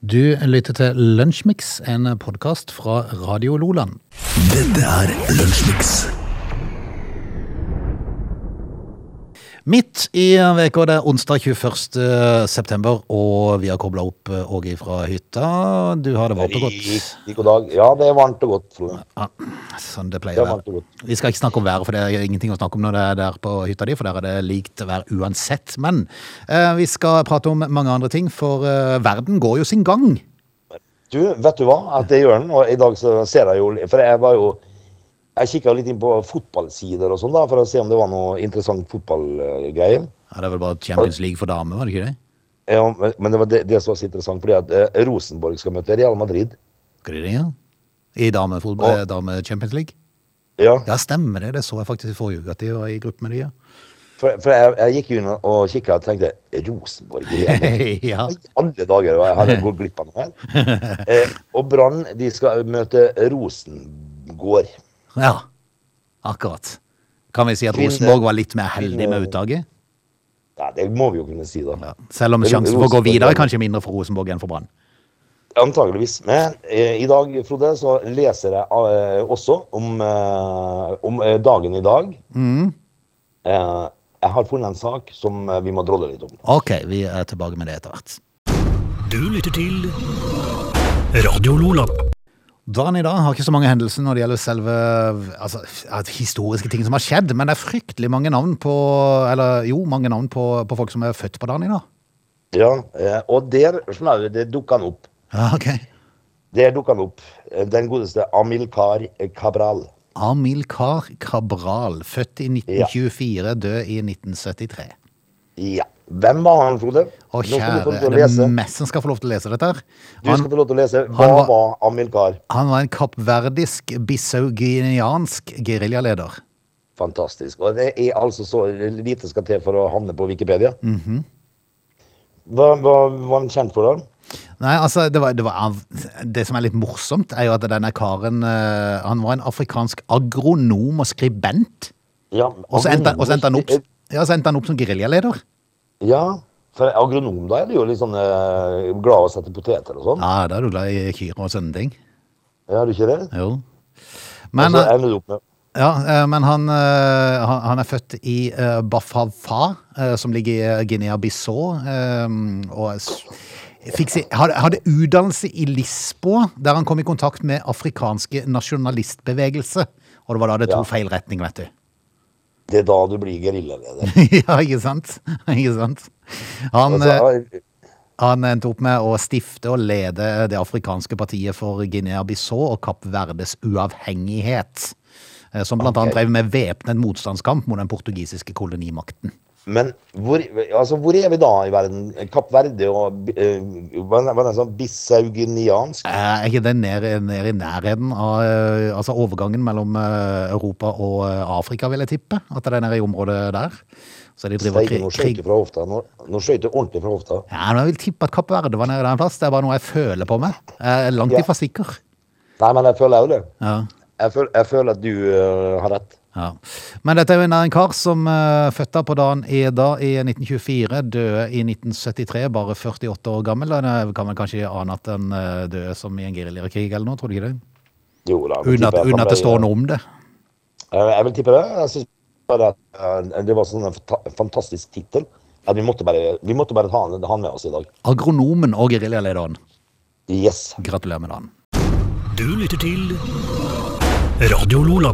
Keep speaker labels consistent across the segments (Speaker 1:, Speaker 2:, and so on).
Speaker 1: Du lytter til Lunsjmix, en podkast fra Radio Loland.
Speaker 2: Dette er Lunsjmix.
Speaker 1: Midt i veka, det er onsdag 21. september, og vi har kobla opp eh, Åge fra hytta. Du har det varmt og godt,
Speaker 3: Riktig god dag. Ja, det er varmt og godt, Frode.
Speaker 1: sånn det
Speaker 3: Det
Speaker 1: pleier
Speaker 3: er
Speaker 1: å
Speaker 3: varmt
Speaker 1: være.
Speaker 3: og godt.
Speaker 1: Vi skal ikke snakke om været, for det er ingenting å snakke om når det er der på hytta di, for der er det likt vær uansett. Men eh, vi skal prate om mange andre ting, for eh, verden går jo sin gang.
Speaker 3: Du, vet du hva? At det gjør den, og i dag så ser jeg jo For jeg var jo Jeg kikka litt inn på fotballsider og sånn, da, for å se om det var noe interessant fotballgreier.
Speaker 1: Ja, det er vel bare Champions League for damer, var det ikke det?
Speaker 3: Ja, men- men det var det, det som var så interessant, fordi at eh, Rosenborg skal møte Real Madrid.
Speaker 1: Skal de det, ja? I damefotball, eh, dame-Champions League?
Speaker 3: Ja,
Speaker 1: Ja, stemmer det. Det så jeg faktisk i forrige uke, at de var i gruppe med de, ja.
Speaker 3: for, for jeg, jeg gikk jo inn og kikka og tenkte Rosenborg? Real Madrid?
Speaker 1: ja.
Speaker 3: I alle dager, hva jeg har jeg gått glipp av noe her? Eh, og Brann, de skal møte Rosengård.
Speaker 1: ja. Akkurat. Kan vi si at
Speaker 3: Kvinne-
Speaker 1: Rosenborg var litt mer heldig med
Speaker 3: kvinne-
Speaker 1: uttaket?
Speaker 3: Ja, det må vi jo kunne si, da.
Speaker 1: Ja. Selv om
Speaker 3: Ro-
Speaker 1: sjansen for å gå
Speaker 3: Rosenborg-
Speaker 1: videre er kanskje mindre for Rosenborg enn for Brann.
Speaker 3: Antageligvis. Men eh, i dag, Frode, så leser jeg eh, også om, eh, om eh, dagen i dag.
Speaker 1: Mm.
Speaker 3: Eh, jeg har funnet en sak som eh, vi må drolle litt om.
Speaker 1: Ok, vi er tilbake med det etter hvert.
Speaker 2: Du lytter til Radio Lola.
Speaker 1: Dagen i dag har ikke så mange hendelser når det gjelder selve altså, at historiske ting som har skjedd, men det er fryktelig mange navn på Eller jo, mange navn på, på folk som er født på dagen i dag.
Speaker 3: Ja, eh, Og der snarere, det dukka han opp.
Speaker 1: Ja, ok.
Speaker 3: Der dukka han opp. Eh, Den godeste Amilcar Cabral.
Speaker 1: Amilcar Cabral, født i 1924, død i 1973.
Speaker 3: Ja. Hvem var han, Frode?
Speaker 1: Å,
Speaker 3: Nå skal du få
Speaker 1: kjære,
Speaker 3: lov til å
Speaker 1: er det
Speaker 3: lese.
Speaker 1: mest som skal få lov til å lese dette? her?
Speaker 3: Du
Speaker 1: Han,
Speaker 3: skal få lov til å lese. Hva
Speaker 1: han var-
Speaker 3: var Amilcar?
Speaker 1: han var en kappverdisk, bissau-guineansk geriljaleder.
Speaker 3: Fantastisk. Og det er altså så lite skal til for å havne på Wikipedia.
Speaker 1: Mhm.
Speaker 3: Hva hva var han kjent for, da?
Speaker 1: Nei, altså, det, var, det, var, det som er litt morsomt, er jo at denne karen eh, Han var en afrikansk agronom og skribent.
Speaker 3: Ja,
Speaker 1: Og så endte, han- og så endte han opp
Speaker 3: agronom-
Speaker 1: ja, så endte han opp som geriljaleder.
Speaker 3: Ja, for agronom da er du jo litt sånn eh, glad å sette poteter og sånn.
Speaker 1: Ja, da er du glad i kyr og sånne ting.
Speaker 3: Er du ikke det?
Speaker 1: Jo.
Speaker 3: Men,
Speaker 1: Men,
Speaker 3: så
Speaker 1: eh,
Speaker 3: ender du opp med
Speaker 1: ja, eh, men han, eh, han han er født i eh, Bafafa, eh, som ligger i Guinea-Bissau. eh, Og s- fikk si, hadde, hadde utdannelse i Lisboa, der han kom i kontakt med afrikanske nasjonalistbevegelse. Og det var da det
Speaker 3: Ja.
Speaker 1: tok feil retning, vet du.
Speaker 3: Det er da du blir geriljaleder.
Speaker 1: ja, ikke sant? ikke sant? Han, eh,
Speaker 3: Altså,
Speaker 1: han endte opp med å stifte og lede det afrikanske partiet for Guinea-Bissau og Kapp Verdes uavhengighet. eh, Som blant annet
Speaker 3: Ok.
Speaker 1: drev med væpnet motstandskamp mot den portugisiske kolonimakten.
Speaker 3: men hvor, altså, hvor er vi da i verden? Kapp Verde og eh, Hva hva er det sånn Bissau-guineansk?
Speaker 1: Eh, Er ikke det ned, i- ned i nærheten av eh, altså overgangen mellom eh, Europa og eh, Afrika, vil jeg tippe? At det er nede i området der? Så de driver
Speaker 3: Steike,
Speaker 1: krig,
Speaker 3: nå skøyt
Speaker 1: krig.
Speaker 3: du fra hofta. Nå, nå skøyt du ordentlig fra hofta.
Speaker 1: Ja, men Jeg vil tippe at Kapp Verde var nede der en plass. Det er bare noe jeg føler på meg. Jeg er langt
Speaker 3: Ja.
Speaker 1: ifra sikker.
Speaker 3: Nei, men jeg føler jo det.
Speaker 1: Ja.
Speaker 3: Jeg føler, jeg føler at du eh, har rett.
Speaker 1: Ja. Men dette er jo en, en kar som uh, fødte på dagen i dag i 1924, døde i 1973, bare 48 år gammel. Og det kan man kanskje ane at den eh, døde som i en geriljakrig eller noe, tror du ikke det?
Speaker 3: Jo da. men
Speaker 1: Uten at,
Speaker 3: tipper jeg
Speaker 1: uten at det
Speaker 3: ble-
Speaker 1: står noe om det.
Speaker 3: Eh, Jeg vil tippe det. Jeg synes bare at eh, det var sånn en fanta- fantastisk tittel at vi måtte bare, vi måtte bare ta han, han med oss i dag.
Speaker 1: Agronomen og geriljalederen.
Speaker 3: Yes.
Speaker 1: Gratulerer med dagen.
Speaker 2: Du lytter til Radio Lola.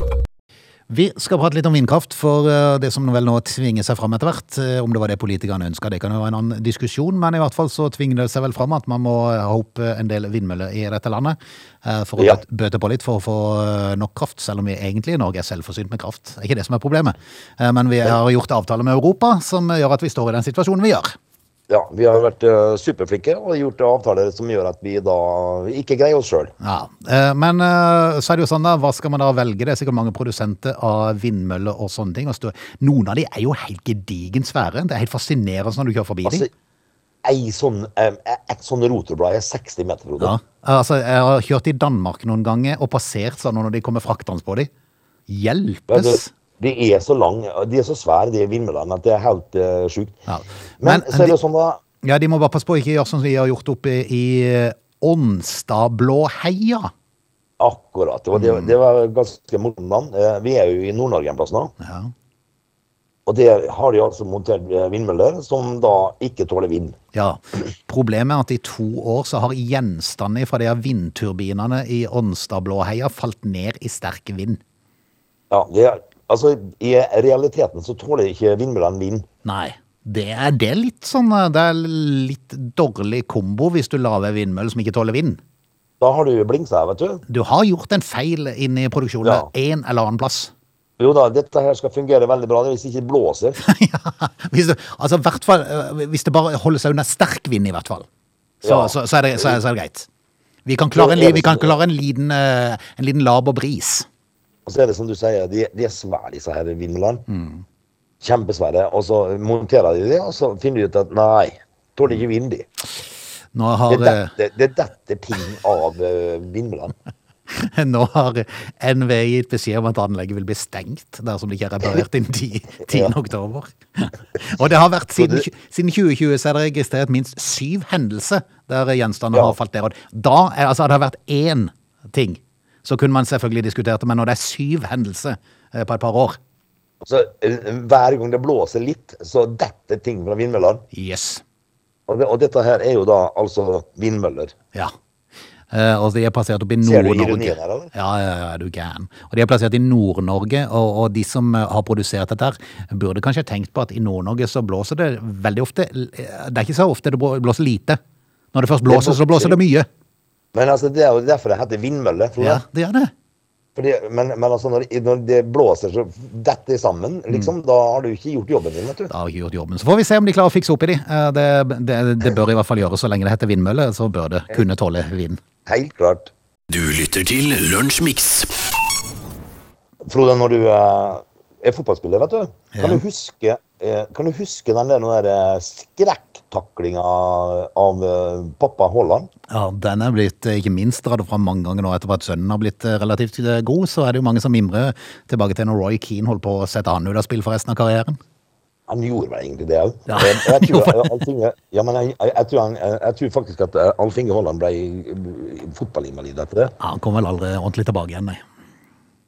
Speaker 1: Vi skal prate litt om vindkraft, for eh, det som vel nå tvinger seg fram etter hvert, eh, om det var det politikerne ønska, det kan jo være en annen diskusjon, men i hvert fall så tvinger det seg vel fram at man må ha opp eh, en del vindmøller i dette landet eh, for å
Speaker 3: Ja.
Speaker 1: bøt- bøte på litt for å få eh, nok kraft, selv om vi egentlig i Norge er selvforsynt med kraft. Det er ikke det som er problemet, Eh, men vi har gjort avtaler med Europa som gjør at vi står i den situasjonen vi gjør.
Speaker 3: Ja, vi har vært eh, superflinke og gjort avtaler som gjør at vi da ikke greier oss sjøl.
Speaker 1: Ja, eh, Men eh, så er det jo sånn da, hva skal man da velge? Det er sikkert mange produsenter av vindmøller og sånne ting. Og stå- Noen av de er jo helt gedigen svære. Det er helt fascinerende når du kjører forbi
Speaker 3: Altså,
Speaker 1: dem.
Speaker 3: ei sånn, eh, et sånn rotorblad er 60 meter, Frode.
Speaker 1: Ja. Altså, jeg har kjørt i Danmark noen ganger og passert sånn når de kommer fraktende på dem.
Speaker 3: Ja, det,
Speaker 1: Hjelpes!
Speaker 3: de er så lang, de er så svære, de vindmøllene, at det er helt uh, sjukt.
Speaker 1: Ja. Men
Speaker 3: Men, så er
Speaker 1: de-
Speaker 3: det jo sånn, da
Speaker 1: Ja, De må bare passe på å ikke gjøre sånn som de har gjort oppe i Ånstadblåheia.
Speaker 3: Akkurat. Det var, det, det var ganske morsomt navn. Eh, Vi er jo i Nord-Norge en plass nå.
Speaker 1: Ja.
Speaker 3: Og der har de altså montert eh, vindmøller som da ikke tåler vind.
Speaker 1: ja. Problemet er at i to år så har gjenstander fra de her vindturbinene i Ånstadblåheia falt ned i sterk vind.
Speaker 3: Ja, det er, altså I realiteten så tåler ikke vindmøllene vind.
Speaker 1: Nei. Det er, det er litt sånn eh, Det er litt dårlig kombo hvis du lager ei vindmølle som ikke tåler vind.
Speaker 3: Da har du blingsa, vet du.
Speaker 1: Du har gjort en feil inne i produksjonen
Speaker 3: Ja.
Speaker 1: en eller annen plass.
Speaker 3: Jo da, dette her skal fungere veldig bra det er hvis ikke det blåser.
Speaker 1: ja, hvis, det, altså, i hvert fall, eh, hvis det bare holder seg under sterk vind, i hvert fall, så,
Speaker 3: Ja.
Speaker 1: så, så, er, det, så, er, så er det greit. Vi kan klare en, li- vi kan klare en, liten, eh, en liten laber bris.
Speaker 3: Og så er det som du sier, de, de er svære, disse her vindmøllene. Kjempesvære. Og så monterer de det, og så finner de ut at nei, tåler ikke vind, de.
Speaker 1: Nå
Speaker 3: Det
Speaker 1: har, eh,
Speaker 3: detter, det detter ting av eh, vindmøllene.
Speaker 1: nå har NVE gitt beskjed om at anlegget vil bli stengt dersom det ikke er reparert innen 10. 10.
Speaker 3: Ja.
Speaker 1: oktober. Og det har vært siden,
Speaker 3: det-
Speaker 1: tju- siden 2020 så er det registrert minst syv hendelser der gjenstander
Speaker 3: Ja.
Speaker 1: har falt ned. Og Da er, altså, hadde det vært én ting, så kunne man selvfølgelig diskutert det, men når det er syv hendelser eh, på et par år
Speaker 3: Så eh, hver gang det blåser litt, så detter ting fra vindmøllene.
Speaker 1: Yes.
Speaker 3: Og, det, og dette her er jo da altså vindmøller.
Speaker 1: Ja. Eh, og de er plassert opp i
Speaker 3: Ser du
Speaker 1: Nord-Norge.
Speaker 3: ironien her, eller?
Speaker 1: Ja, ja, ja, er du gæren. Og de er plassert i Nord-Norge, og, og de som eh, har produsert dette, her, burde kanskje tenkt på at i Nord-Norge så blåser det veldig ofte eh, Det er ikke så ofte det blå- blåser lite. Når det først blåser, så blåser det mye.
Speaker 3: Men altså, det er jo derfor det heter vindmølle. tror jeg.
Speaker 1: Ja, det gjør det.
Speaker 3: Fordi, men, men altså, når, når det blåser så detter det sammen,
Speaker 1: Mm.
Speaker 3: liksom, da har du ikke gjort jobben din, vet du.
Speaker 1: Da har jeg gjort jobben. Så får vi se om de klarer å fikse opp i de. Eh, Det, det, det bør i hvert fall gjøres. Så lenge det heter vindmølle, så bør det kunne tåle vind.
Speaker 3: Helt klart.
Speaker 2: Du lytter til Lunsjmix.
Speaker 3: Frode, når du eh, er fotballspiller, vet du,
Speaker 1: Ja.
Speaker 3: kan du huske, eh, kan du huske den der, den der eh, skrekktaklinga av eh, pappa Haaland?
Speaker 1: Ja, den er blitt eh, ikke minst dratt fram mange ganger nå etter at sønnen har blitt eh, relativt eh, god, så er det jo mange som mimrer tilbake til når Roy Keane holdt på å sette han ut av spill for resten av karrieren.
Speaker 3: Han gjorde vel egentlig det òg.
Speaker 1: Ja,
Speaker 3: Jeg, jeg, tror,
Speaker 1: gjorde
Speaker 3: eh, Alf Inge- ja, men jeg, jeg, jeg, tror han- jeg, jeg tror faktisk at eh, Alf Inge Haaland ble eh, fotballinvalid etter det.
Speaker 1: Ja, han kom vel aldri ordentlig tilbake igjen, nei.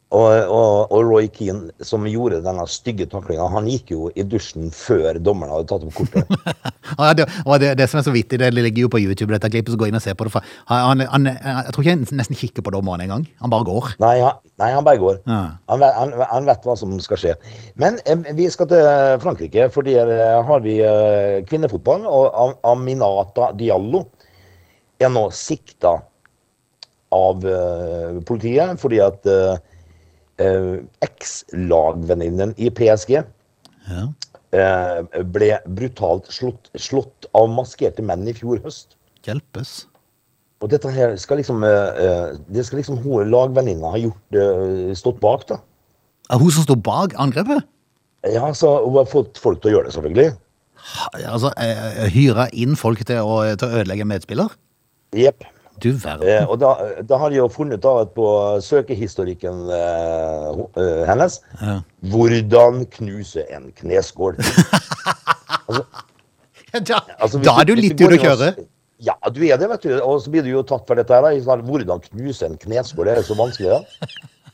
Speaker 3: Og, og, og Roy Keane, som gjorde denne stygge taklinga, han gikk jo i dusjen før dommeren hadde tatt opp kortet.
Speaker 1: Ja, det, og det, det som er så vittig, det ligger jo på YouTube, dette klippet, så gå inn og se på det. For han, han, jeg tror ikke han nesten kikker på dommeren engang. Han bare går.
Speaker 3: Nei, han, nei, han bare går.
Speaker 1: Ja.
Speaker 3: Han, ve- han, han vet hva som skal skje. Men eh, vi skal til Frankrike, for der eh, har vi eh, kvinnefotball. Og Am- Aminata Diallo er nå sikta av eh, politiet fordi at eh, eh, ekslagvenninnen i PSG
Speaker 1: Ja.
Speaker 3: eh, ble brutalt slått, slått av maskerte menn i fjor høst.
Speaker 1: Hjelpes.
Speaker 3: Og dette her skal liksom, eh, eh, det skal liksom hun lagvenninna ha gjort, eh, stått bak, da.
Speaker 1: Er hun som sto bak angrepet?
Speaker 3: Ja, så hun har fått folk til å gjøre det, selvfølgelig.
Speaker 1: Ha- Altså, eh, hyre inn folk til å, til å ødelegge en medspiller?
Speaker 3: Jepp.
Speaker 1: Du verden.
Speaker 3: Eh, og da, da har de jo funnet av at på søkehistorikken eh, ho- eh, hennes
Speaker 1: Ja.
Speaker 3: 'Hvordan knuse en kneskål'.
Speaker 1: Da,
Speaker 3: Altså, hvis
Speaker 1: da er du
Speaker 3: hvis
Speaker 1: litt
Speaker 3: går
Speaker 1: ute å
Speaker 3: inn og-
Speaker 1: kjøre.
Speaker 3: Ja, du er det, vet du. Og så blir du jo tatt for dette her. da, i sånn, 'Hvordan knuse en kneskål', det er så vanskelig, da.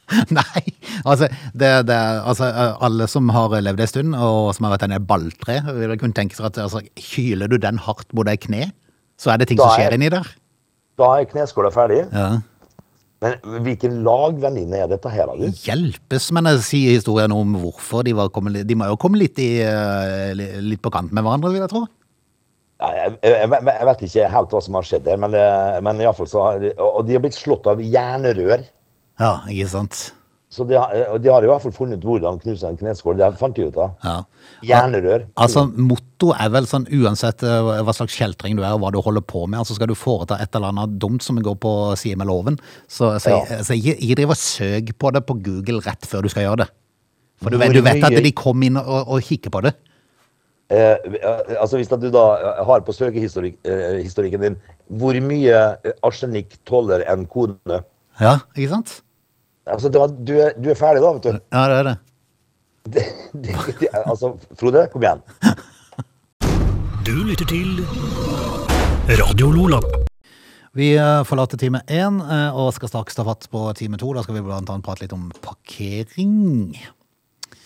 Speaker 1: Nei, altså, det, det, er- altså eh, alle som har levd en stund, og som har vært en balltre, vil kunne tenke seg at altså, kyler du den hardt mot ei kne, så er det ting
Speaker 3: Da
Speaker 1: som
Speaker 3: er-
Speaker 1: skjer inni der.
Speaker 3: Da er kneskåla ferdig.
Speaker 1: Ja.
Speaker 3: Men hvilken lagvenninne er dette her, da? du?
Speaker 1: Hjelpes, men jeg sier historien om hvorfor de var kommet, litt- De må jo komme litt, i, eh, li- litt på kant med hverandre, vil jeg tro.
Speaker 3: Nei, Jeg, jeg, jeg- jeg vet ikke helt hva som har skjedd der, men, det- men iallfall så har de- Og de har blitt slått av jernrør.
Speaker 1: Ja, ikke sant?
Speaker 3: Så de, har- og de har i hvert fall funnet ut hvordan knuse en kneskål. Det fant de ut av.
Speaker 1: Ja.
Speaker 3: Jernrør.
Speaker 1: Altså, motto er vel sånn, uansett eh, hva slags kjeltring du er, og hva du holder på med, altså skal du foreta et eller annet dumt som går på side med loven, så, så,
Speaker 3: Ja.
Speaker 1: så ikke, ikke driv og søk på det på Google rett før du skal gjøre det. For du
Speaker 3: Hvor
Speaker 1: vet, du vet
Speaker 3: mye-
Speaker 1: at de kom inn og, og kikker på det.
Speaker 3: Eh, eh, altså Hvis at du da eh, har på søkehistorikken eh, historikken din Hvor mye eh, arsenikk tåler en kone?
Speaker 1: Ja, ikke sant?
Speaker 3: Altså, da, du, er, du er ferdig da, vet du.
Speaker 1: Ja, det er det.
Speaker 3: Det, det, det, altså, Frode, kom igjen.
Speaker 2: Du lytter til Radio Lola.
Speaker 1: Vi eh, forlater time én eh, og skal straks ta fatt på time to. Da skal vi blant annet prate litt om parkering.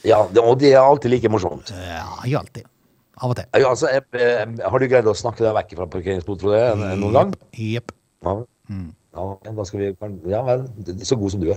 Speaker 3: Ja, det, og det er alltid like morsomt.
Speaker 1: Ja, ikke alltid. Av og til.
Speaker 3: Eh, Ja, altså, jeg, eh, har du greid å snakke deg vekk fra parkeringsbot, tror jeg, en- noen gang?
Speaker 1: Jepp.
Speaker 3: Ja, vel. ja, da skal vi, kan- ja vel, det- så god som du er.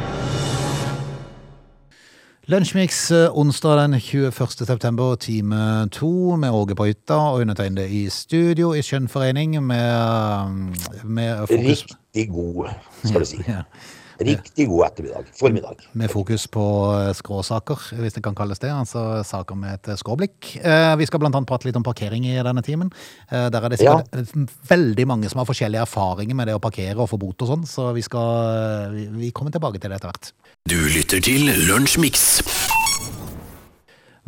Speaker 1: Lunsjmix eh, onsdag den 21. september, time to, med Åge på hytta og undertegnede i studio i skjønnforening med, eh, med, fokus,
Speaker 3: Riktig god, skal du si.
Speaker 1: ja,
Speaker 3: Riktig god ettermiddag. Formiddag.
Speaker 1: med fokus på eh, skråsaker, hvis det kan kalles det. Altså saker med et eh, skråblikk. Eh, Vi skal blant annet prate litt om parkering i denne timen. Eh, Der er det
Speaker 3: Ja.
Speaker 1: sikkert eh, veldig mange som har forskjellige erfaringer med det å parkere og få bot og sånn, så vi, skal, eh, vi- vi kommer tilbake til det etter hvert.
Speaker 2: Du lytter til Lunsjmix.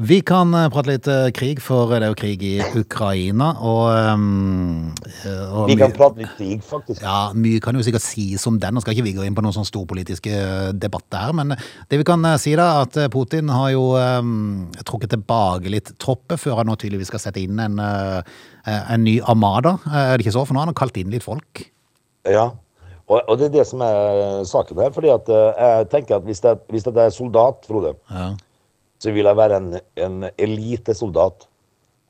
Speaker 1: Vi kan eh, prate litt eh, krig, for det er jo krig i Ukraina, og, ehm, eh, og
Speaker 3: Vi kan
Speaker 1: mye-
Speaker 3: prate litt krig, faktisk.
Speaker 1: ja, Mye kan jo sikkert sies om den, og skal ikke vi gå inn på noen sånn storpolitiske eh, debatter her, men det vi kan eh, si da, er at eh, Putin har jo ehm, trukket tilbake litt tropper, før han nå tydeligvis skal sette inn en, eh, en ny armada. Eh, Er det ikke så? For nå har han kalt inn litt folk.
Speaker 3: Ja, og, og det er det som er saken her. fordi at eh, jeg tenker at hvis det, hvis det er soldat, Frode,
Speaker 1: Ja.
Speaker 3: så vil jeg være en, en elitesoldat.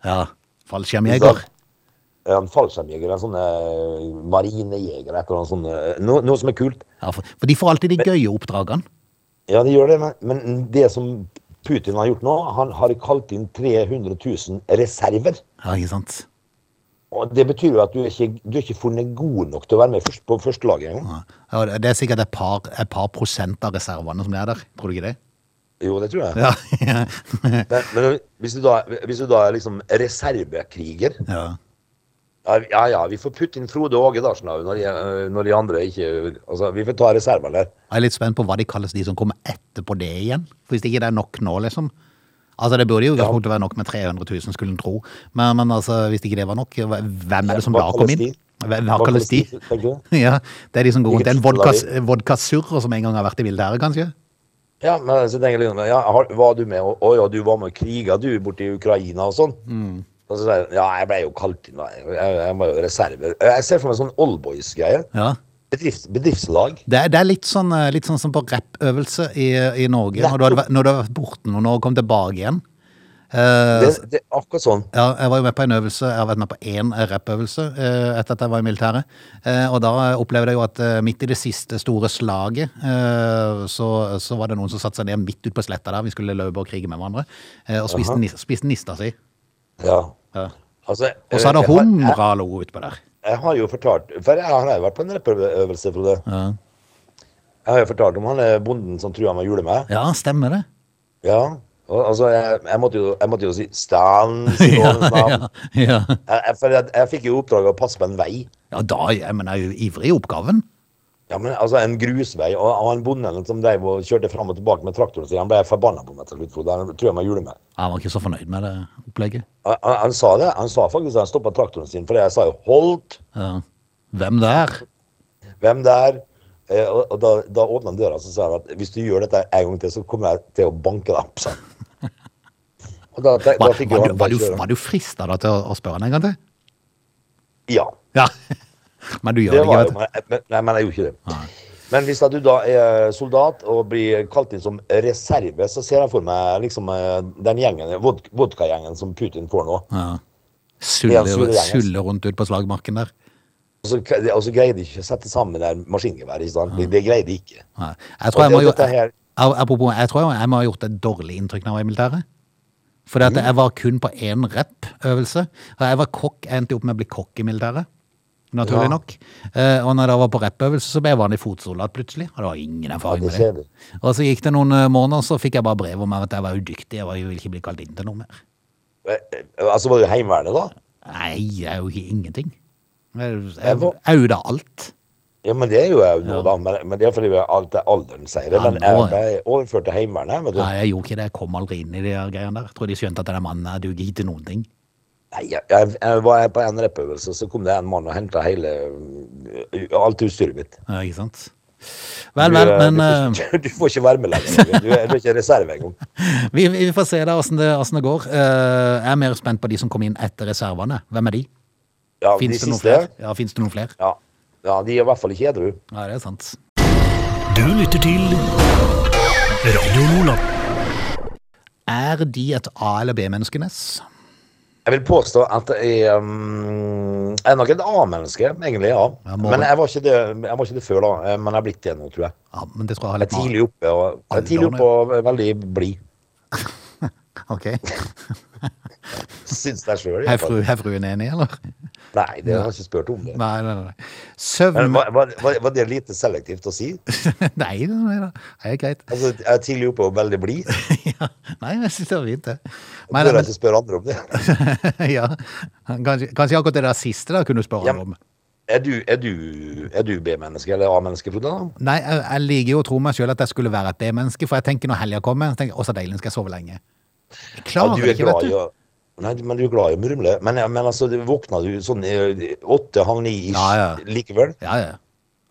Speaker 1: ja. Fallskjermjeger.
Speaker 3: En fallskjermjeger, en sånn eh, marinejeger, et eller annet sånt. eh, Noe, noe som er kult.
Speaker 1: Ja, for, for de får alltid de gøye oppdragene.
Speaker 3: Ja, det gjør det, men, men det som Putin har gjort nå, han har kalt inn 300 000 reserver.
Speaker 1: Ja, ikke sant?
Speaker 3: Og det betyr jo at du er ikke, du er ikke funnet god nok til å være med først, på første laget engang.
Speaker 1: Ja, og det- det er sikkert et par, et par prosent av reservene som er der, tror du ikke det?
Speaker 3: Jo, det tror jeg.
Speaker 1: Ja,
Speaker 3: Men, men hvis, du da, hvis du da er liksom reservekriger
Speaker 1: ja.
Speaker 3: Ja, ja, ja, vi får putte inn Frode og Åge Larsen da, når, de- eh, når de andre ikke Altså, vi får ta reservene der.
Speaker 1: Jeg er litt spent på hva de kalles de som kommer etterpå det igjen. For hvis ikke det er nok nå, liksom. Altså, det burde jo i utgangspunktet være nok med 300 000, skulle en tro. Men, men altså, hvis ikke det var nok, hvem er det som
Speaker 3: Hva
Speaker 1: da kom
Speaker 3: kalles
Speaker 1: inn?
Speaker 3: de?
Speaker 1: Hvem, hva
Speaker 3: Hva
Speaker 1: kalles de?
Speaker 3: kalles de, tenker
Speaker 1: Ja, det er de som går rundt. Det er en
Speaker 3: Hvilket
Speaker 1: vodkas-
Speaker 3: lag
Speaker 1: vodkasurrer som en gang har vært i militæret, kanskje?
Speaker 3: Ja, men så tenker jeg liksom ja, har, Var du med? Å å ja, du var med og kriga, du, borti Ukraina og sånn.
Speaker 1: Mm.
Speaker 3: Og så sier jeg ja, jeg ble jo kalt inn, da. Jeg, jeg var jo reserve. Jeg ser for meg sånn oldboys-greie.
Speaker 1: Ja.
Speaker 3: Bedrifts, bedriftslag.
Speaker 1: Det er, det er litt, sånn, eh, litt sånn som på rappøvelse i, i Norge, når du, hadde, vært- når du har vært borte noen år og kom tilbake igjen. Eh,
Speaker 3: Det, det er akkurat sånn.
Speaker 1: Ja, jeg var jo med på en øvelse, jeg har vært med på én rappøvelse eh, etter at jeg var i militæret. Eh, og da eh, opplevde jeg jo at eh, midt i det siste store slaget, eh, så, så var det noen som satte seg ned midt ute på sletta der, vi skulle løpe og krige med hverandre, eh, og spiste, nis, spiste nista si.
Speaker 3: Ja.
Speaker 1: Ja.
Speaker 3: Altså,
Speaker 1: Og så er det
Speaker 3: jeg har- jeg-
Speaker 1: humra lo utpå der.
Speaker 3: Jeg har jo fortalt For jeg har jo vært på en rappøvelse, Frode. Jeg har jo fortalt om han eh, bonden som trua med å jule meg.
Speaker 1: Ja, stemmer det.
Speaker 3: Ja. Og, altså, jeg, jeg, måtte jo, jeg måtte jo si stans i
Speaker 1: ja,
Speaker 3: gårdens navn.
Speaker 1: ja, ja.
Speaker 3: Jeg, jeg, for jeg, jeg fikk jo oppdrag å passe på en vei.
Speaker 1: ja, da jeg, men jeg er jo ivrig i oppgaven.
Speaker 3: Ja, men altså En grusvei. Og, og han bonden som drev og kjørte fram og tilbake med traktoren sin, han ble forbanna på meg til slutt. Frode. Han trua meg å jule meg.
Speaker 1: Jeg var ikke så fornøyd med det opplegget.
Speaker 3: Han, han, han sa det. Han sa faktisk at han stoppa traktoren sin, for jeg sa jo 'holdt'.
Speaker 1: Ja. Hvem der?
Speaker 3: Hvem der? Eh, og og da, da åpna han døra og sa han at hvis du gjør dette en gang til, så kommer jeg til å banke deg opp. sa han. Og da, da, da
Speaker 1: Var,
Speaker 3: fikk
Speaker 1: var,
Speaker 3: jo
Speaker 1: du,
Speaker 3: han
Speaker 1: var, du,
Speaker 3: bare kjøre.
Speaker 1: var du frista da til å, å spørre han en gang til?
Speaker 3: Ja.
Speaker 1: Ja. Men du gjør
Speaker 3: Det
Speaker 1: det,
Speaker 3: var
Speaker 1: ikke,
Speaker 3: jo,
Speaker 1: vet du.
Speaker 3: men, men- nei, men jeg gjorde ikke det. Men hvis da du da er eh, soldat og blir kalt inn som reserve, så ser jeg for meg liksom eh, den gjengen, vod- vodkagjengen som Putin får nå.
Speaker 1: Ja.
Speaker 3: Det er en
Speaker 1: Sulle,
Speaker 3: surregjeng, altså.
Speaker 1: sulle rundt ut på slagmarken der.
Speaker 3: Og så, og så greide de ikke å sette sammen det der maskingeværet. ikke sant? Det, det greide de ikke.
Speaker 1: Nei. Jeg tror
Speaker 3: Og
Speaker 1: jeg, må,
Speaker 3: det-
Speaker 1: jo-
Speaker 3: dette her-
Speaker 1: Au, apropos, jeg tror jeg må ha gjort et dårlig inntrykk når jeg var i militæret. Fordi
Speaker 3: Mm.
Speaker 1: at jeg var kun på én rep-øvelse. Og Jeg var kokk, jeg endte jo opp med å bli kokk i militæret. Naturlig
Speaker 3: Ja.
Speaker 1: nok. Eh, og når jeg da var på rep-øvelse, så ble jeg vanlig fotsoldat plutselig. Og det var ingen erfaring
Speaker 3: Ja,
Speaker 1: med
Speaker 3: det
Speaker 1: det. Og så gikk det noen eh, måneder, så fikk jeg bare brev om at jeg var udyktig. Jeg var- jeg ville ikke bli kalt inn til noe mer.
Speaker 3: Eh, eh, Altså, var det Heimevernet, da?
Speaker 1: Nei, jeg er jo ikke ingenting. Jeg jeg-
Speaker 3: hva-
Speaker 1: jeg er jo da alt.
Speaker 3: Ja, men det er jo jeg nå, da. Men, men det er fordi vi har alt det alderen sier det.
Speaker 1: Ja,
Speaker 3: Men
Speaker 1: nå-
Speaker 3: jeg ble overført til Heimevernet. Vet du.
Speaker 1: Nei, jeg gjorde ikke det. Jeg kom aldri inn i de her greiene der. Jeg tror de skjønte at den mannen her duger ikke til noen ting.
Speaker 3: Nei, jeg, jeg, jeg var på en rappøvelse, så kom det en mann og henta hele ø, Alt utstyret mitt.
Speaker 1: Ja, ikke sant? Vel,
Speaker 3: Du,
Speaker 1: vel,
Speaker 3: ø,
Speaker 1: men
Speaker 3: du, får ikke, du får ikke være med lenger. Du, er- du er ikke reserve engang.
Speaker 1: eh, vi, vi får se da åssen det, hvordan det går. Eh, jeg er mer spent på de som kom inn etter reservene. Hvem er de?
Speaker 3: Ja, de
Speaker 1: Fins det noen
Speaker 3: siste
Speaker 1: flere? Ja, finnes det noen flere?
Speaker 3: ja, ja, de er i hvert fall ikke edru.
Speaker 1: Ja, det er sant.
Speaker 4: Du lytter til Radio Nordland.
Speaker 1: Er de et A- eller B-menneskenes?
Speaker 3: Jeg vil påstå at jeg, ø, jeg er nok et A-menneske, egentlig, ja.
Speaker 1: Ja, må
Speaker 3: Men
Speaker 1: det.
Speaker 3: jeg var, ikke det, jeg var ikke det før, da. Eh, Men jeg er blitt det nå, tror jeg.
Speaker 1: Ja, men det tror jeg har
Speaker 3: Jeg er
Speaker 1: litt
Speaker 3: tidlig oppe og, jeg er tidlig oppe og veldig blid.
Speaker 1: Ok.
Speaker 3: Syns jeg sjøl.
Speaker 1: Er, fru, er fruen enig, eller?
Speaker 3: Nei, det har jeg ikke spurt om. det.
Speaker 1: Nei, nei, nei.
Speaker 3: Men
Speaker 1: Søvn
Speaker 3: var, var, var var det lite selektivt å si?
Speaker 1: Nei, nei, nei, nei, det er greit.
Speaker 3: Altså, jeg er tidlig oppe og veldig blid.
Speaker 1: Ja. Nei, jeg syns det var fint, det. Men,
Speaker 3: Bør jeg ikke spørre andre om det?
Speaker 1: men, ja. kanskje, kanskje akkurat det der siste da kunne du spørre
Speaker 3: Ja.
Speaker 1: om.
Speaker 3: Er du, er du, er du B-menneske eller A-menneske, Frode? da?
Speaker 1: Nei, jeg, jeg liker jo å tro meg sjøl at jeg skulle være et B-menneske, for jeg tenker når helga kommer, så tenker jeg å, så deilig, nå skal jeg sove lenge. Jeg
Speaker 3: Ja,
Speaker 1: klarer
Speaker 3: du
Speaker 1: det
Speaker 3: er
Speaker 1: ikke,
Speaker 3: glad
Speaker 1: vet
Speaker 3: i
Speaker 1: du.
Speaker 3: å Nei, men du er glad i å murmle. Men, men altså, du- våkna du sånn eh, åtte, halv ni ish
Speaker 1: Ja, ja.
Speaker 3: likevel?
Speaker 1: Ja, ja.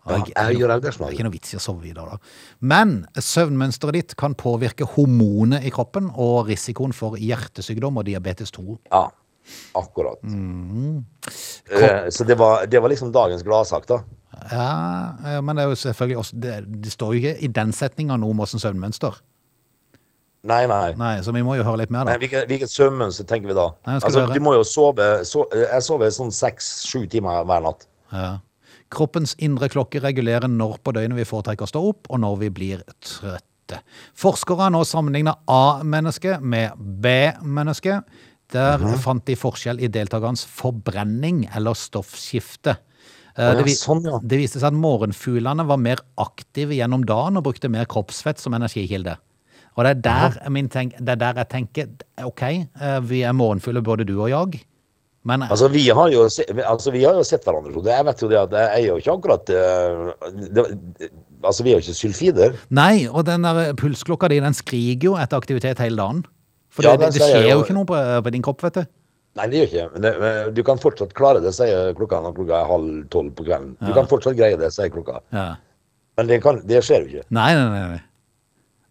Speaker 3: Ja,
Speaker 1: Og
Speaker 3: jeg gjør
Speaker 1: det
Speaker 3: det
Speaker 1: er
Speaker 3: snart.
Speaker 1: ikke noe vits i å sove i dag, da. Men søvnmønsteret ditt kan påvirke hormonet i kroppen og risikoen for hjertesykdom og diabetes 2.
Speaker 3: Ja, akkurat.
Speaker 1: Mm.
Speaker 3: Eh, så det var, det var liksom dagens gladsak, da.
Speaker 1: Ja, eh, men det er jo selvfølgelig også Det, det står jo ikke i den setninga noe om åssen søvnmønster.
Speaker 3: Nei, nei.
Speaker 1: Nei, så vi må jo høre litt mer,
Speaker 3: Nei,
Speaker 1: da.
Speaker 3: hvilket, hvilket søvnmønster tenker vi da?
Speaker 1: Nei, skal
Speaker 3: altså,
Speaker 1: du høre.
Speaker 3: du må jo sove so, Jeg sover sånn seks-sju timer hver natt.
Speaker 1: Ja. Kroppens indre klokke regulerer når på døgnet vi foretrekker å stå opp, og når vi blir trøtte. Forskere har nå sammenligna A-mennesket med B-mennesket. Der
Speaker 3: Mhm.
Speaker 1: fant de forskjell i deltakerens forbrenning eller stoffskifte. Eh,
Speaker 3: Å ja,
Speaker 1: det, vi-
Speaker 3: sånn, ja.
Speaker 1: det viste seg at morgenfuglene var mer aktive gjennom dagen og brukte mer kroppsfett som energikilde. Og det er der, min tenk, det er der jeg tenker OK, eh, vi er morgenfugler, både du og jeg. Men
Speaker 3: Altså, vi har jo, se- vi- altså, vi har jo sett hverandre, Frode. Jeg vet jo det at jeg er jo ikke akkurat eh, det, Altså, vi er jo ikke sylfider.
Speaker 1: Nei, og den der pulsklokka di, den skriker jo etter aktivitet hele dagen. For
Speaker 3: Ja,
Speaker 1: det,
Speaker 3: den
Speaker 1: det
Speaker 3: sier
Speaker 1: skjer
Speaker 3: jo-
Speaker 1: jo ikke noe på, eh, på din kropp, vet du.
Speaker 3: Nei, det gjør ikke men det. men Du kan fortsatt klare det, sier klokka når klokka er halv tolv på kvelden. Du kan fortsatt greie det, sier klokka.
Speaker 1: Ja.
Speaker 3: Men det, kan, det skjer jo ikke.
Speaker 1: Nei, nei, nei. nei.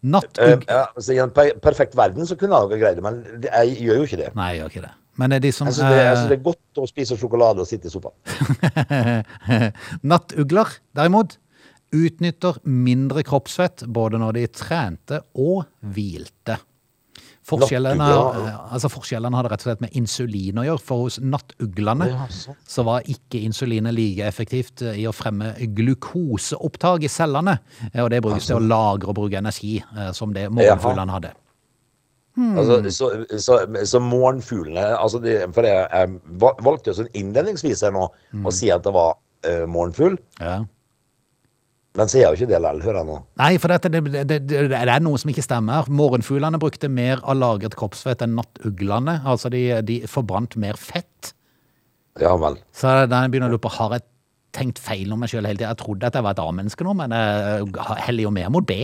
Speaker 3: Eh,
Speaker 1: Nattugg...
Speaker 3: ja, altså, I en per perfekt verden så kunne jeg nok ha greid det, men det, jeg gjør jo ikke det.
Speaker 1: Nei, jeg gjør ikke det. Men det er de som
Speaker 3: Jeg syns altså, det, jeg synes
Speaker 1: eh,
Speaker 3: det er godt å spise sjokolade og sitte i sofaen.
Speaker 1: Nattugler, derimot, utnytter mindre kroppsfett både når de trente og hvilte. Forskjellene,
Speaker 3: Nattugler, ja.
Speaker 1: eh, altså forskjellene hadde rett og slett med insulin å gjøre, for hos nattuglene
Speaker 3: Ja, sant.
Speaker 1: så var ikke insulinet like effektivt eh, i å fremme glukoseopptak i cellene, eh, og det brukes til å lagre og bruke energi, eh, som det morgenfuglene hadde.
Speaker 3: Altså, så, så, så morgenfuglene altså det, For jeg, jeg val- valgte jo sånn innledningsvis her nå å si at det var eh, morgenfugl,
Speaker 1: Ja.
Speaker 3: men så er jeg jo ikke det likevel, hører jeg nå.
Speaker 1: Nei, for dette, det, det, det, det er noe som ikke stemmer. Morgenfuglene brukte mer av lagret kroppsfett enn nattuglene. Altså, de, de forbrant mer fett.
Speaker 3: Ja vel.
Speaker 1: Så da begynner jeg å lure på, har jeg tenkt feil om meg sjøl hele tida? Jeg trodde at jeg var et A-menneske nå, men jeg heller jo mer mot B.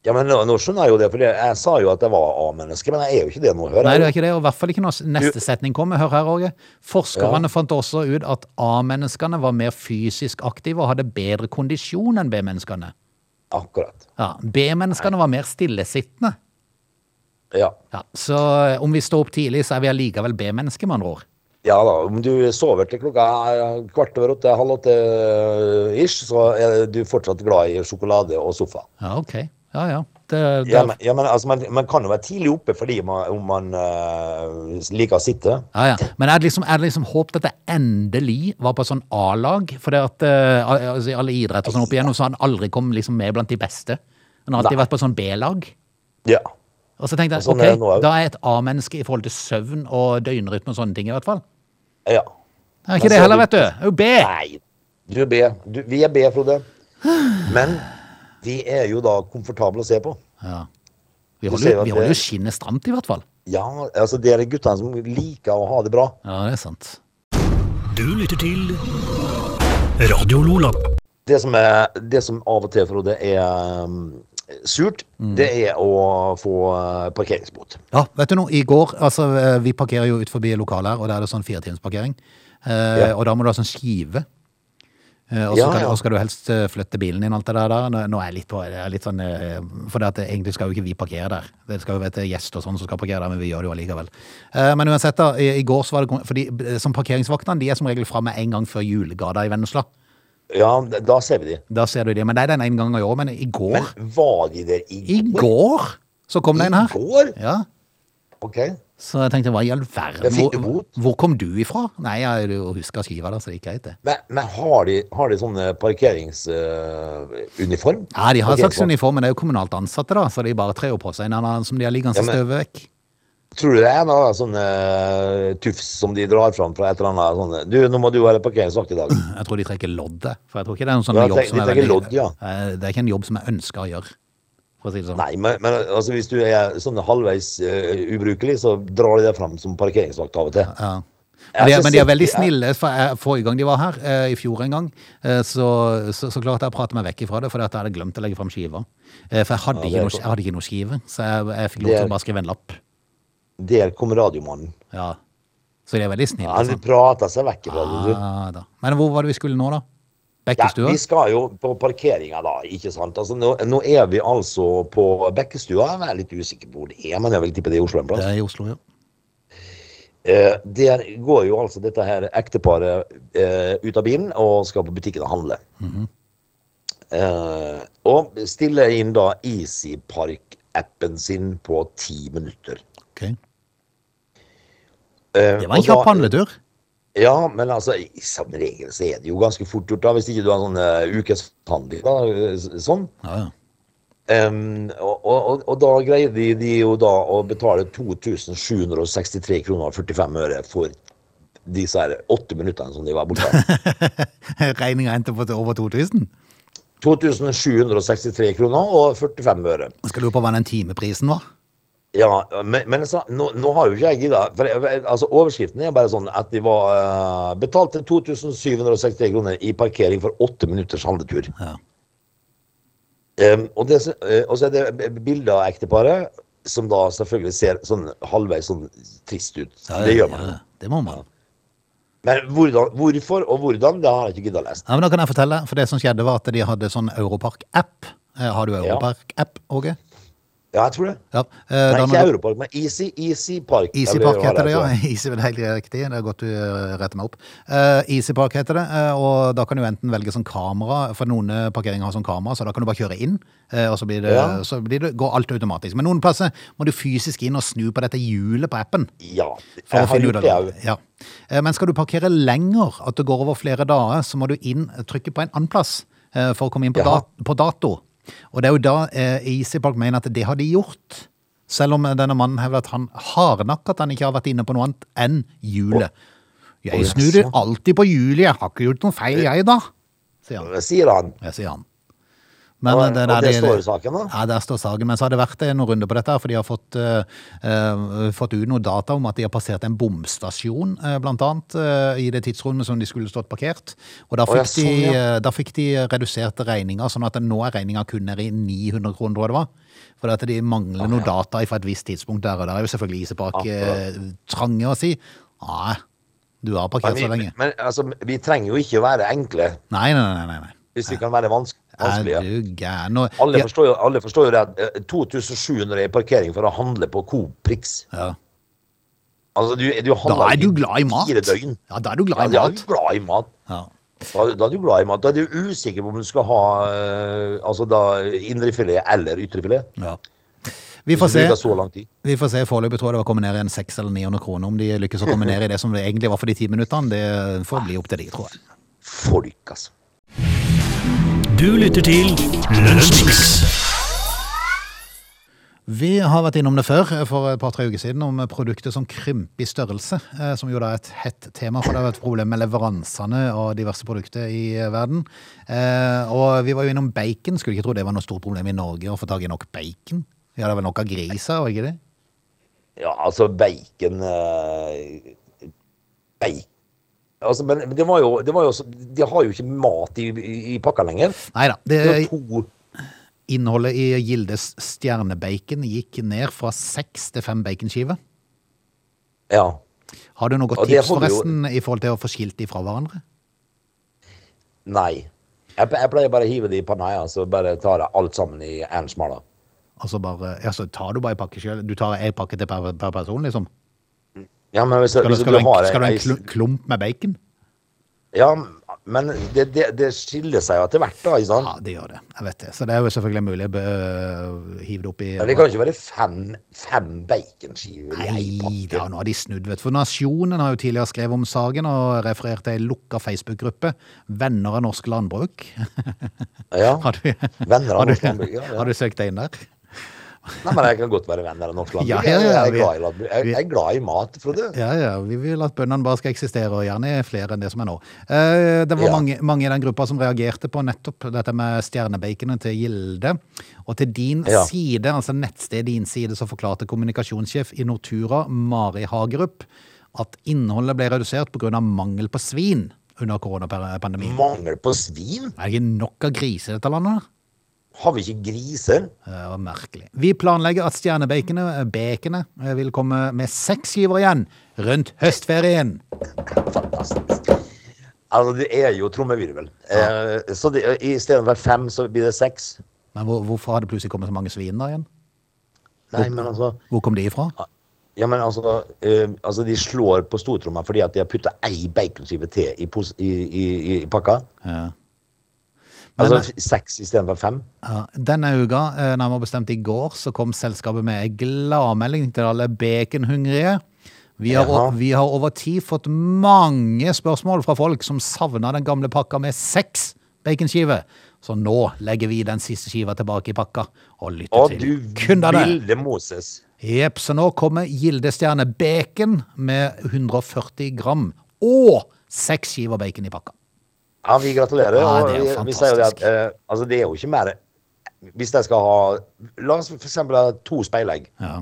Speaker 3: Ja, men nå, nå skjønner jeg jo det, for jeg, jeg sa jo at jeg var A-menneske, men jeg er jo ikke det nå, hører
Speaker 1: Nei, det
Speaker 3: jeg.
Speaker 1: er ikke det, og i hvert fall ikke når s- neste setning kommer. Hør her, Åge. Forskerne fant også ut at A-menneskene var mer fysisk aktive og hadde bedre kondisjon enn B-menneskene.
Speaker 3: Akkurat.
Speaker 1: Ja, B-menneskene var mer stillesittende.
Speaker 3: Ja.
Speaker 1: Ja, så eh, om vi står opp tidlig, så er vi allikevel B-mennesker, med andre ord.
Speaker 3: ja da, om du sover til klokka er kvart over åtte, halv åtte eh, ish, så er du fortsatt glad i sjokolade og sofa.
Speaker 1: Ja, ok. Ja, ja. Det, det,
Speaker 3: Ja, men, ja, men altså, man, man kan jo være tidlig oppe fordi man, om man eh, liker å sitte.
Speaker 1: Ja, ja. Men er det liksom, er det liksom håpet at jeg endelig var på sånn A-lag? For det at eh, al- altså, i alle idretter og sånn opp igjennom, så har han aldri kommet liksom med blant de beste. Han har alltid
Speaker 3: Nei.
Speaker 1: vært på sånn B-lag.
Speaker 3: Ja.
Speaker 1: Og så tenkte jeg,
Speaker 3: Og sånn er det
Speaker 1: ok,
Speaker 3: nå også.
Speaker 1: da er jeg et A-menneske i forhold til søvn og døgnrytme og sånne ting i hvert fall.
Speaker 3: ja.
Speaker 1: Det er
Speaker 3: Men
Speaker 1: ikke det
Speaker 3: så er
Speaker 1: heller,
Speaker 3: det-
Speaker 1: vet du. Det er jo B.
Speaker 3: Nei, du er B. Du, vi er B, Frode. Men vi er jo da komfortable å se på.
Speaker 1: Ja. Vi
Speaker 3: Du ser
Speaker 1: holder,
Speaker 3: jo
Speaker 1: jo-
Speaker 3: at
Speaker 1: vi holder
Speaker 3: det-
Speaker 1: jo skinnet stramt i hvert fall.
Speaker 3: Ja, altså det er de guttene som liker å ha det bra.
Speaker 1: Ja, det er sant.
Speaker 4: Du lytter til Radio Nordland.
Speaker 3: det som, er, det som av og til, Frode, er um, surt,
Speaker 1: Mm.
Speaker 3: det er å få eh, parkeringsbot.
Speaker 1: Ja, vet du noe, i går, altså eh, vi parkerer jo ut forbi lokalet her, og der er det sånn firetimersparkering. Eh,
Speaker 3: Ja.
Speaker 1: Og da må du ha sånn skive. Eh, og så
Speaker 3: Ja,
Speaker 1: kan-
Speaker 3: ja.
Speaker 1: og så skal du helst eh, flytte bilen din, alt det der. der. Nå- Nå er jeg litt på, jeg er litt sånn, eh, for det at det- egentlig skal jo ikke vi parkere der. Det skal jo være gjest og sånn som skal parkere der, men vi gjør det jo allikevel. Eh, men uansett da, i, i går så var det, kon- fordi eh, som parkeringsvaktene, de er som regel fremme en gang før julegada i Vennesla.
Speaker 3: Ja, d- da ser vi de.
Speaker 1: Da ser du det, men det er den en gang i år, men i går,
Speaker 3: Men var de der i
Speaker 1: i går, så kom det en her.
Speaker 3: I går?
Speaker 1: Ja,
Speaker 3: OK.
Speaker 1: Så jeg tenkte, hva i all verden?
Speaker 3: Jeg fikk
Speaker 1: Hvor,
Speaker 3: det bot.
Speaker 1: hvor kom du ifra? Nei, jeg husker skiva der, så det gikk greit det.
Speaker 3: Men, men har, de, har de sånne uh, parkeringsuniform?
Speaker 1: Ja, de har en slags uniform, men det er jo kommunalt ansatte da, så de bare trer jo på seg en annen som de har liggende
Speaker 3: Ja, men-
Speaker 1: støvet vekk.
Speaker 3: Tror du det er noe sånn eh, tufs som de drar fram fra et eller annet sånn Du, nå må du være parkeringsvakt i dag.
Speaker 1: Jeg tror de trekker loddet, for jeg tror ikke det er noen sånn
Speaker 3: Ja,
Speaker 1: jobb
Speaker 3: de-
Speaker 1: som
Speaker 3: de
Speaker 1: er
Speaker 3: trekker lodd, ja.
Speaker 1: Eh, Det er ikke en jobb som jeg ønsker å gjøre, for å si det sånn.
Speaker 3: Nei, men, men altså, hvis du er sånn halvveis eh, ubrukelig, så drar de deg fram som parkeringsvakt av og til.
Speaker 1: Ja.
Speaker 3: Jeg
Speaker 1: Men
Speaker 3: har
Speaker 1: de,
Speaker 3: ikke
Speaker 1: er- men de er
Speaker 3: sett-
Speaker 1: veldig
Speaker 3: jeg-
Speaker 1: snille. For jeg, forrige gang de var her, eh, i fjor en gang, eh, så, så, så klarte jeg å prate meg vekk ifra det, for at jeg hadde glemt å legge fram skiver. Eh, For jeg hadde,
Speaker 3: Ja, det
Speaker 1: ikke noe,
Speaker 3: er godt.
Speaker 1: jeg hadde ikke noe skive, så jeg, jeg fikk lov
Speaker 3: Det
Speaker 1: til
Speaker 3: er-
Speaker 1: å bare skrive en lapp.
Speaker 3: Der kom radiomannen.
Speaker 1: Ja. Så de er veldig snille.
Speaker 3: Han
Speaker 1: sånn.
Speaker 3: prata seg vekk fra det. du.
Speaker 1: Ja, da. Men hvor var det vi skulle nå, da?
Speaker 3: Ja,
Speaker 1: Bekkestua?
Speaker 3: vi skal jo på parkeringa, da. ikke sant? Altså, nå, nå er vi altså på Bekkestua. Jeg er litt usikker på hvor det er, men jeg vil tippe det er i Oslo en plass.
Speaker 1: det er i Oslo, ja.
Speaker 3: Eh, der går jo altså dette her ekteparet eh, ut av bilen og skal på butikken og handle.
Speaker 1: Mhm.
Speaker 3: eh, og stiller inn da Easypark-appen sin på ti minutter.
Speaker 1: Ok.
Speaker 3: Eh,
Speaker 1: Det var
Speaker 3: og
Speaker 1: en
Speaker 3: da-
Speaker 1: kjapp handletur.
Speaker 3: Ja, men altså, i- som regel så er det jo ganske fort gjort, da, hvis ikke du har sånn eh, ukeshandel. Da, eh, s- sånn.
Speaker 1: Ja, ja.
Speaker 3: Em, og, og, og- og da greide de, de jo da å betale 2763 kroner og 45 øre for disse her åtte minuttene som de var borte.
Speaker 1: Regninga endte på over 2000.
Speaker 3: 2763 kroner og 45 øre.
Speaker 1: Skal lure på hva den timeprisen var.
Speaker 3: Ja, men, men så, nå, nå har jo ikke jeg gidda. For jeg, jeg- altså, overskriften er bare sånn at de var eh, betalte 2763 kroner i parkering for åtte minutters handletur.
Speaker 1: Ja.
Speaker 3: Em, og, det, som- eh, og så er det b- bilder av ekteparet, som da selvfølgelig ser sånn halvveis sånn trist ut.
Speaker 1: Ja,
Speaker 3: det
Speaker 1: ja,
Speaker 3: gjør man.
Speaker 1: ja, det må man.
Speaker 3: Men hvordan, hvorfor og hvordan, det har jeg ikke gidda å lese.
Speaker 1: Ja, men da kan jeg fortelle, for det som skjedde var at de hadde sånn Europark-app. Eh, Har du Europark-app, Åge?
Speaker 3: Ja, jeg tror det.
Speaker 1: Ja. eh,
Speaker 3: Nei,
Speaker 1: da når
Speaker 3: ikke
Speaker 1: du-
Speaker 3: Europark, men Easy, Easy Park.
Speaker 1: Easy
Speaker 3: eller
Speaker 1: Park
Speaker 3: hva
Speaker 1: heter det, ja.
Speaker 3: tror jeg.
Speaker 1: Easy, det er helt riktig. Det er godt du eh, retter meg opp. Eh, Easy Park heter det, eh, og da kan du enten velge sånn kamera, for noen eh, parkeringer har sånn kamera, så da kan du bare kjøre inn, eh, og så, blir det,
Speaker 3: Ja.
Speaker 1: så blir det, går alt automatisk. Men noen plasser må du fysisk inn og snu på dette hjulet på appen.
Speaker 3: Ja.
Speaker 1: For å
Speaker 3: Jeg har
Speaker 1: finne ut
Speaker 3: gjort det
Speaker 1: av
Speaker 3: òg.
Speaker 1: det. Ja. Eh, Men skal du parkere lenger, at det går over flere dager, så må du inn, eh, trykke på en annen plass eh, for å komme inn på,
Speaker 3: Jaha.
Speaker 1: dat på dato. Og det er jo da eh, Easy Park mener at det har de gjort. Selv om eh, denne mannen hevder at han hardnakka at han ikke har vært inne på noe annet enn hjulet.
Speaker 3: Å,
Speaker 1: Jeg snur
Speaker 3: jaså.
Speaker 1: alltid på hjulet, jeg har ikke gjort noe feil jeg, da. Sier han.
Speaker 3: Sier han.
Speaker 1: Jeg sier han. Men,
Speaker 3: Og-
Speaker 1: eh, det,
Speaker 3: og
Speaker 1: der
Speaker 3: det
Speaker 1: de-
Speaker 3: står i saken, da?
Speaker 1: Ja, der står saken. Men så har det vært eh, noen runder på dette, her, for de har fått, eh, eh, fått ut noe data om at de har passert en bomstasjon, eh, blant annet, eh, i det tidsrommet som de skulle stått parkert. Og da
Speaker 3: Å, ja,
Speaker 1: fikk, de,
Speaker 3: sånn, ja.
Speaker 1: eh, da fikk de reduserte regninger, sånn at nå er regninga kun nede i 900 kroner, tror jeg det var. For at de mangler noe data fra et visst tidspunkt der, og der er jo selvfølgelig Isepark eh, trange å si. Nei, du har
Speaker 3: Men,
Speaker 1: parkert så
Speaker 3: vi,
Speaker 1: lenge.
Speaker 3: men altså, vi trenger jo ikke å være enkle,
Speaker 1: Nei, nei, nei. nei, nei.
Speaker 3: hvis vi kan være vans
Speaker 1: Er
Speaker 3: vanskelige.
Speaker 1: du gæren? Og-
Speaker 3: Alle
Speaker 1: Ja,
Speaker 3: forstår jo, alle forstår jo det at eh, 2700 er parkering for å handle på Coop Prix.
Speaker 1: ja.
Speaker 3: Altså, du, du
Speaker 1: Da
Speaker 3: handler
Speaker 1: er
Speaker 3: ikke
Speaker 1: du glad i mat.
Speaker 3: Fire døgn.
Speaker 1: Ja, da er du
Speaker 3: Ja,
Speaker 1: glad i
Speaker 3: da er
Speaker 1: mat.
Speaker 3: du glad i mat.
Speaker 1: Ja.
Speaker 3: Da, da er du glad i mat. Da er du usikker på om du skal ha eh, altså da indrefilet eller ytrefilet.
Speaker 1: Ja. Vi får
Speaker 3: Hvis du
Speaker 1: se.
Speaker 3: bruker så lang tid.
Speaker 1: Vi får se. Foreløpig tror jeg det var kommet ned i en 600 eller 900 kroner. Om de lykkes å komme ned i det som det egentlig var for de ti minuttene, det får bli opp til de, tror jeg.
Speaker 3: Folk, altså.
Speaker 4: Du lytter til Lunsjmix.
Speaker 1: Vi har vært innom det før, for et par-tre uker siden, om produkter som krymper i størrelse. eh, Som jo da er et hett tema, for det har vært et problem med leveransene av diverse produkter i eh, verden. Eh, Og vi var jo innom bacon. Skulle ikke tro det var noe stort problem i Norge å få tak i nok bacon. Vi hadde vel nok av griser, var ikke det?
Speaker 3: Ja, altså bacon eh, Bacon Altså, men det var jo, det var jo så, De har jo ikke mat i, i, i pakka lenger.
Speaker 1: Nei da.
Speaker 3: Det er
Speaker 1: Det,
Speaker 3: to
Speaker 1: innholdet i Gildes stjernebacon gikk ned fra seks til fem baconskiver.
Speaker 3: Ja.
Speaker 1: Har du noe godt
Speaker 3: Og det
Speaker 1: tips,
Speaker 3: holder jo-
Speaker 1: forresten, i forhold til å få skilt de fra hverandre?
Speaker 3: Nei. Jeg, ple- jeg pleier bare å hive det i panaia, så bare tar jeg alt sammen i en smala.
Speaker 1: Altså bare, altså tar du bare en pakke selv? Du tar en pakke til per, per person, liksom?
Speaker 3: Ja, men hvis,
Speaker 1: Skal du,
Speaker 3: hvis
Speaker 1: skal du, ha, en, skal du ha
Speaker 3: ei-
Speaker 1: en klu- klump med bacon?
Speaker 3: Ja, men det, det, det skiller seg jo etter hvert, da. Ikke sant?
Speaker 1: Ja, det gjør det. Jeg vet det. Så det er jo selvfølgelig mulig å bø- hive det opp i
Speaker 3: Men Det kan jo ikke være fem, fem baconskiver i ei
Speaker 1: Nei,
Speaker 3: pakke.
Speaker 1: da, nå har de snudd, vet du. For Nasjonen har jo tidligere skrevet om saken og referert til ei lukka Facebook-gruppe, Venner av norsk landbruk.
Speaker 3: Ja.
Speaker 1: Har du,
Speaker 3: Venner av
Speaker 1: har du,
Speaker 3: norsk landbruk, ja, ja.
Speaker 1: Har du søkt deg inn der?
Speaker 3: Nei, men jeg kan godt være venner av norsk landbruk.
Speaker 1: Ja, ja, ja,
Speaker 3: Jeg- jeg, er
Speaker 1: vi-
Speaker 3: glad i landbruk. Jeg,
Speaker 1: vi-
Speaker 3: jeg er glad i mat, Frode.
Speaker 1: Ja, ja. Vi vil at bøndene bare skal eksistere, og gjerne flere enn det som er nå. Eh, Det var
Speaker 3: Ja.
Speaker 1: mange, mange i den gruppa som reagerte på nettopp dette med stjernebaconet til Gilde. Og til din
Speaker 3: Ja.
Speaker 1: side, altså nettstedet din side, så forklarte kommunikasjonssjef i Nortura, Mari Hagerup, at innholdet ble redusert pga. mangel på svin under koronapandemien.
Speaker 3: Mangel på svin?
Speaker 1: Er det ikke nok av griser i dette landet? Eh,
Speaker 3: Har vi ikke griser?
Speaker 1: Det var merkelig. Vi planlegger at stjernebaconet, eh, baconet, eh, vil komme med seks skiver igjen rundt høstferien.
Speaker 3: Fantastisk. Altså, det er jo trommevirvel. Eh, så det, i stedet for fem, så blir det seks.
Speaker 1: Men hvor, hvorfor har det plutselig kommet så mange svin da igjen?
Speaker 3: Nei, men altså
Speaker 1: Hvor kom de ifra?
Speaker 3: Ja, men altså, eh, altså De slår på stortromma fordi at de har putta ei baconskive til i, pos- i, i, i pakka.
Speaker 1: Ja. Men,
Speaker 3: Altså f- seks istedenfor fem.
Speaker 1: ja, denne uka, eh, nærmere bestemt i går, så kom selskapet med en gladmelding til alle baconhungrige. Vi har,
Speaker 3: Jaha.
Speaker 1: vi har over tid fått mange spørsmål fra folk som savna den gamle pakka med seks baconskiver. Så nå legger vi den siste skiva tilbake i pakka og lytter
Speaker 3: Og
Speaker 1: til
Speaker 3: du
Speaker 1: kundene.
Speaker 3: ville Moses.
Speaker 1: Jepp, så nå kommer Gildestjerne Bacon med 140 gram og seks skiver bacon i pakka.
Speaker 3: Ja, vi gratulerer.
Speaker 1: Ja,
Speaker 3: og
Speaker 1: det er jo
Speaker 3: vi, vi sier jo det at
Speaker 1: fantastisk.
Speaker 3: eh, altså, det er jo ikke mer Hvis jeg skal ha La oss for eksempel ha to speilegg.
Speaker 1: Ja.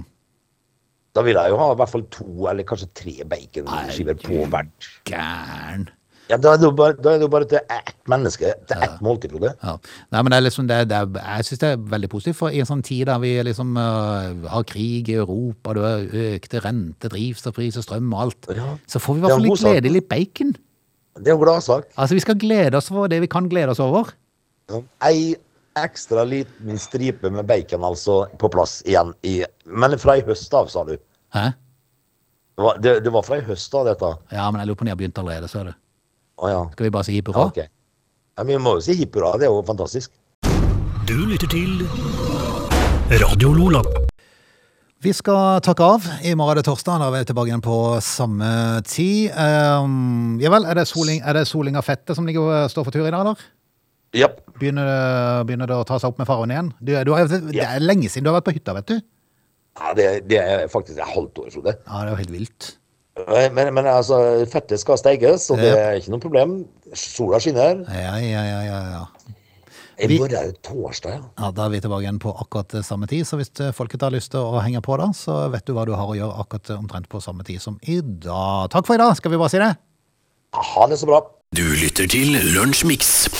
Speaker 3: Da vil jeg jo ha i hvert fall to eller kanskje tre baconskiver på hvert.
Speaker 1: Gæren.
Speaker 3: Ja, da er det jo bare, da er det jo bare til ett menneske. Til ett måltid, Frode.
Speaker 1: Ja. Nei, men det er liksom det, det er, Jeg syns det er veldig positivt, for i en sånn tid der vi liksom øh, har krig i Europa, du har økte renter, drivstoffpriser, strøm og alt,
Speaker 3: Ja.
Speaker 1: så får vi i
Speaker 3: Det
Speaker 1: hvert
Speaker 3: er en
Speaker 1: fall
Speaker 3: god
Speaker 1: litt
Speaker 3: sak.
Speaker 1: glede i litt bacon.
Speaker 3: Det er jo gladsak.
Speaker 1: Altså, vi skal glede oss over det vi kan glede oss over.
Speaker 3: Ja. Ei ekstra liten stripe med bacon altså på plass igjen i Men fra i høst av, sa du. Det
Speaker 1: Hæ?
Speaker 3: var, det, det var fra i høst av, dette.
Speaker 1: Ja, men jeg lurer på om de har begynt allerede, så er det.
Speaker 3: Å ja.
Speaker 1: Skal vi bare si hipp
Speaker 3: ja
Speaker 1: hurra?
Speaker 3: ok. Ja, vi må jo si hipp hurra. Det er jo fantastisk.
Speaker 4: Du lytter til Radio Lola.
Speaker 1: Vi skal takke av. I morgen er det torsdag. Da er vi tilbake igjen på samme tid. Um, ja vel, er det soling, er det soling av fettet som ligger, står for tur i dag, eller?
Speaker 3: Japp.
Speaker 1: Begynner det, begynner det å ta seg opp med farven igjen? Du, du har, det
Speaker 3: Ja.
Speaker 1: er lenge siden du har vært på hytta, vet du.
Speaker 3: Ja, det, det er faktisk et halvt år, Frode.
Speaker 1: Ja, det er jo helt vilt.
Speaker 3: Men, men altså, fettet skal steikes, og det er ikke noe problem. Sola skinner.
Speaker 1: Ja, ja, ja, ja, ja.
Speaker 3: I
Speaker 1: Vi-
Speaker 3: morgen er det torsdag, ja.
Speaker 1: ja. Da er vi tilbake igjen på akkurat samme tid, så hvis eh, folket har lyst til å henge på da, så vet du hva du har å gjøre akkurat eh, omtrent på samme tid som i dag. Takk for i dag, skal vi bare si det.
Speaker 3: Ha det så bra.
Speaker 4: Du lytter til Lunsjmix.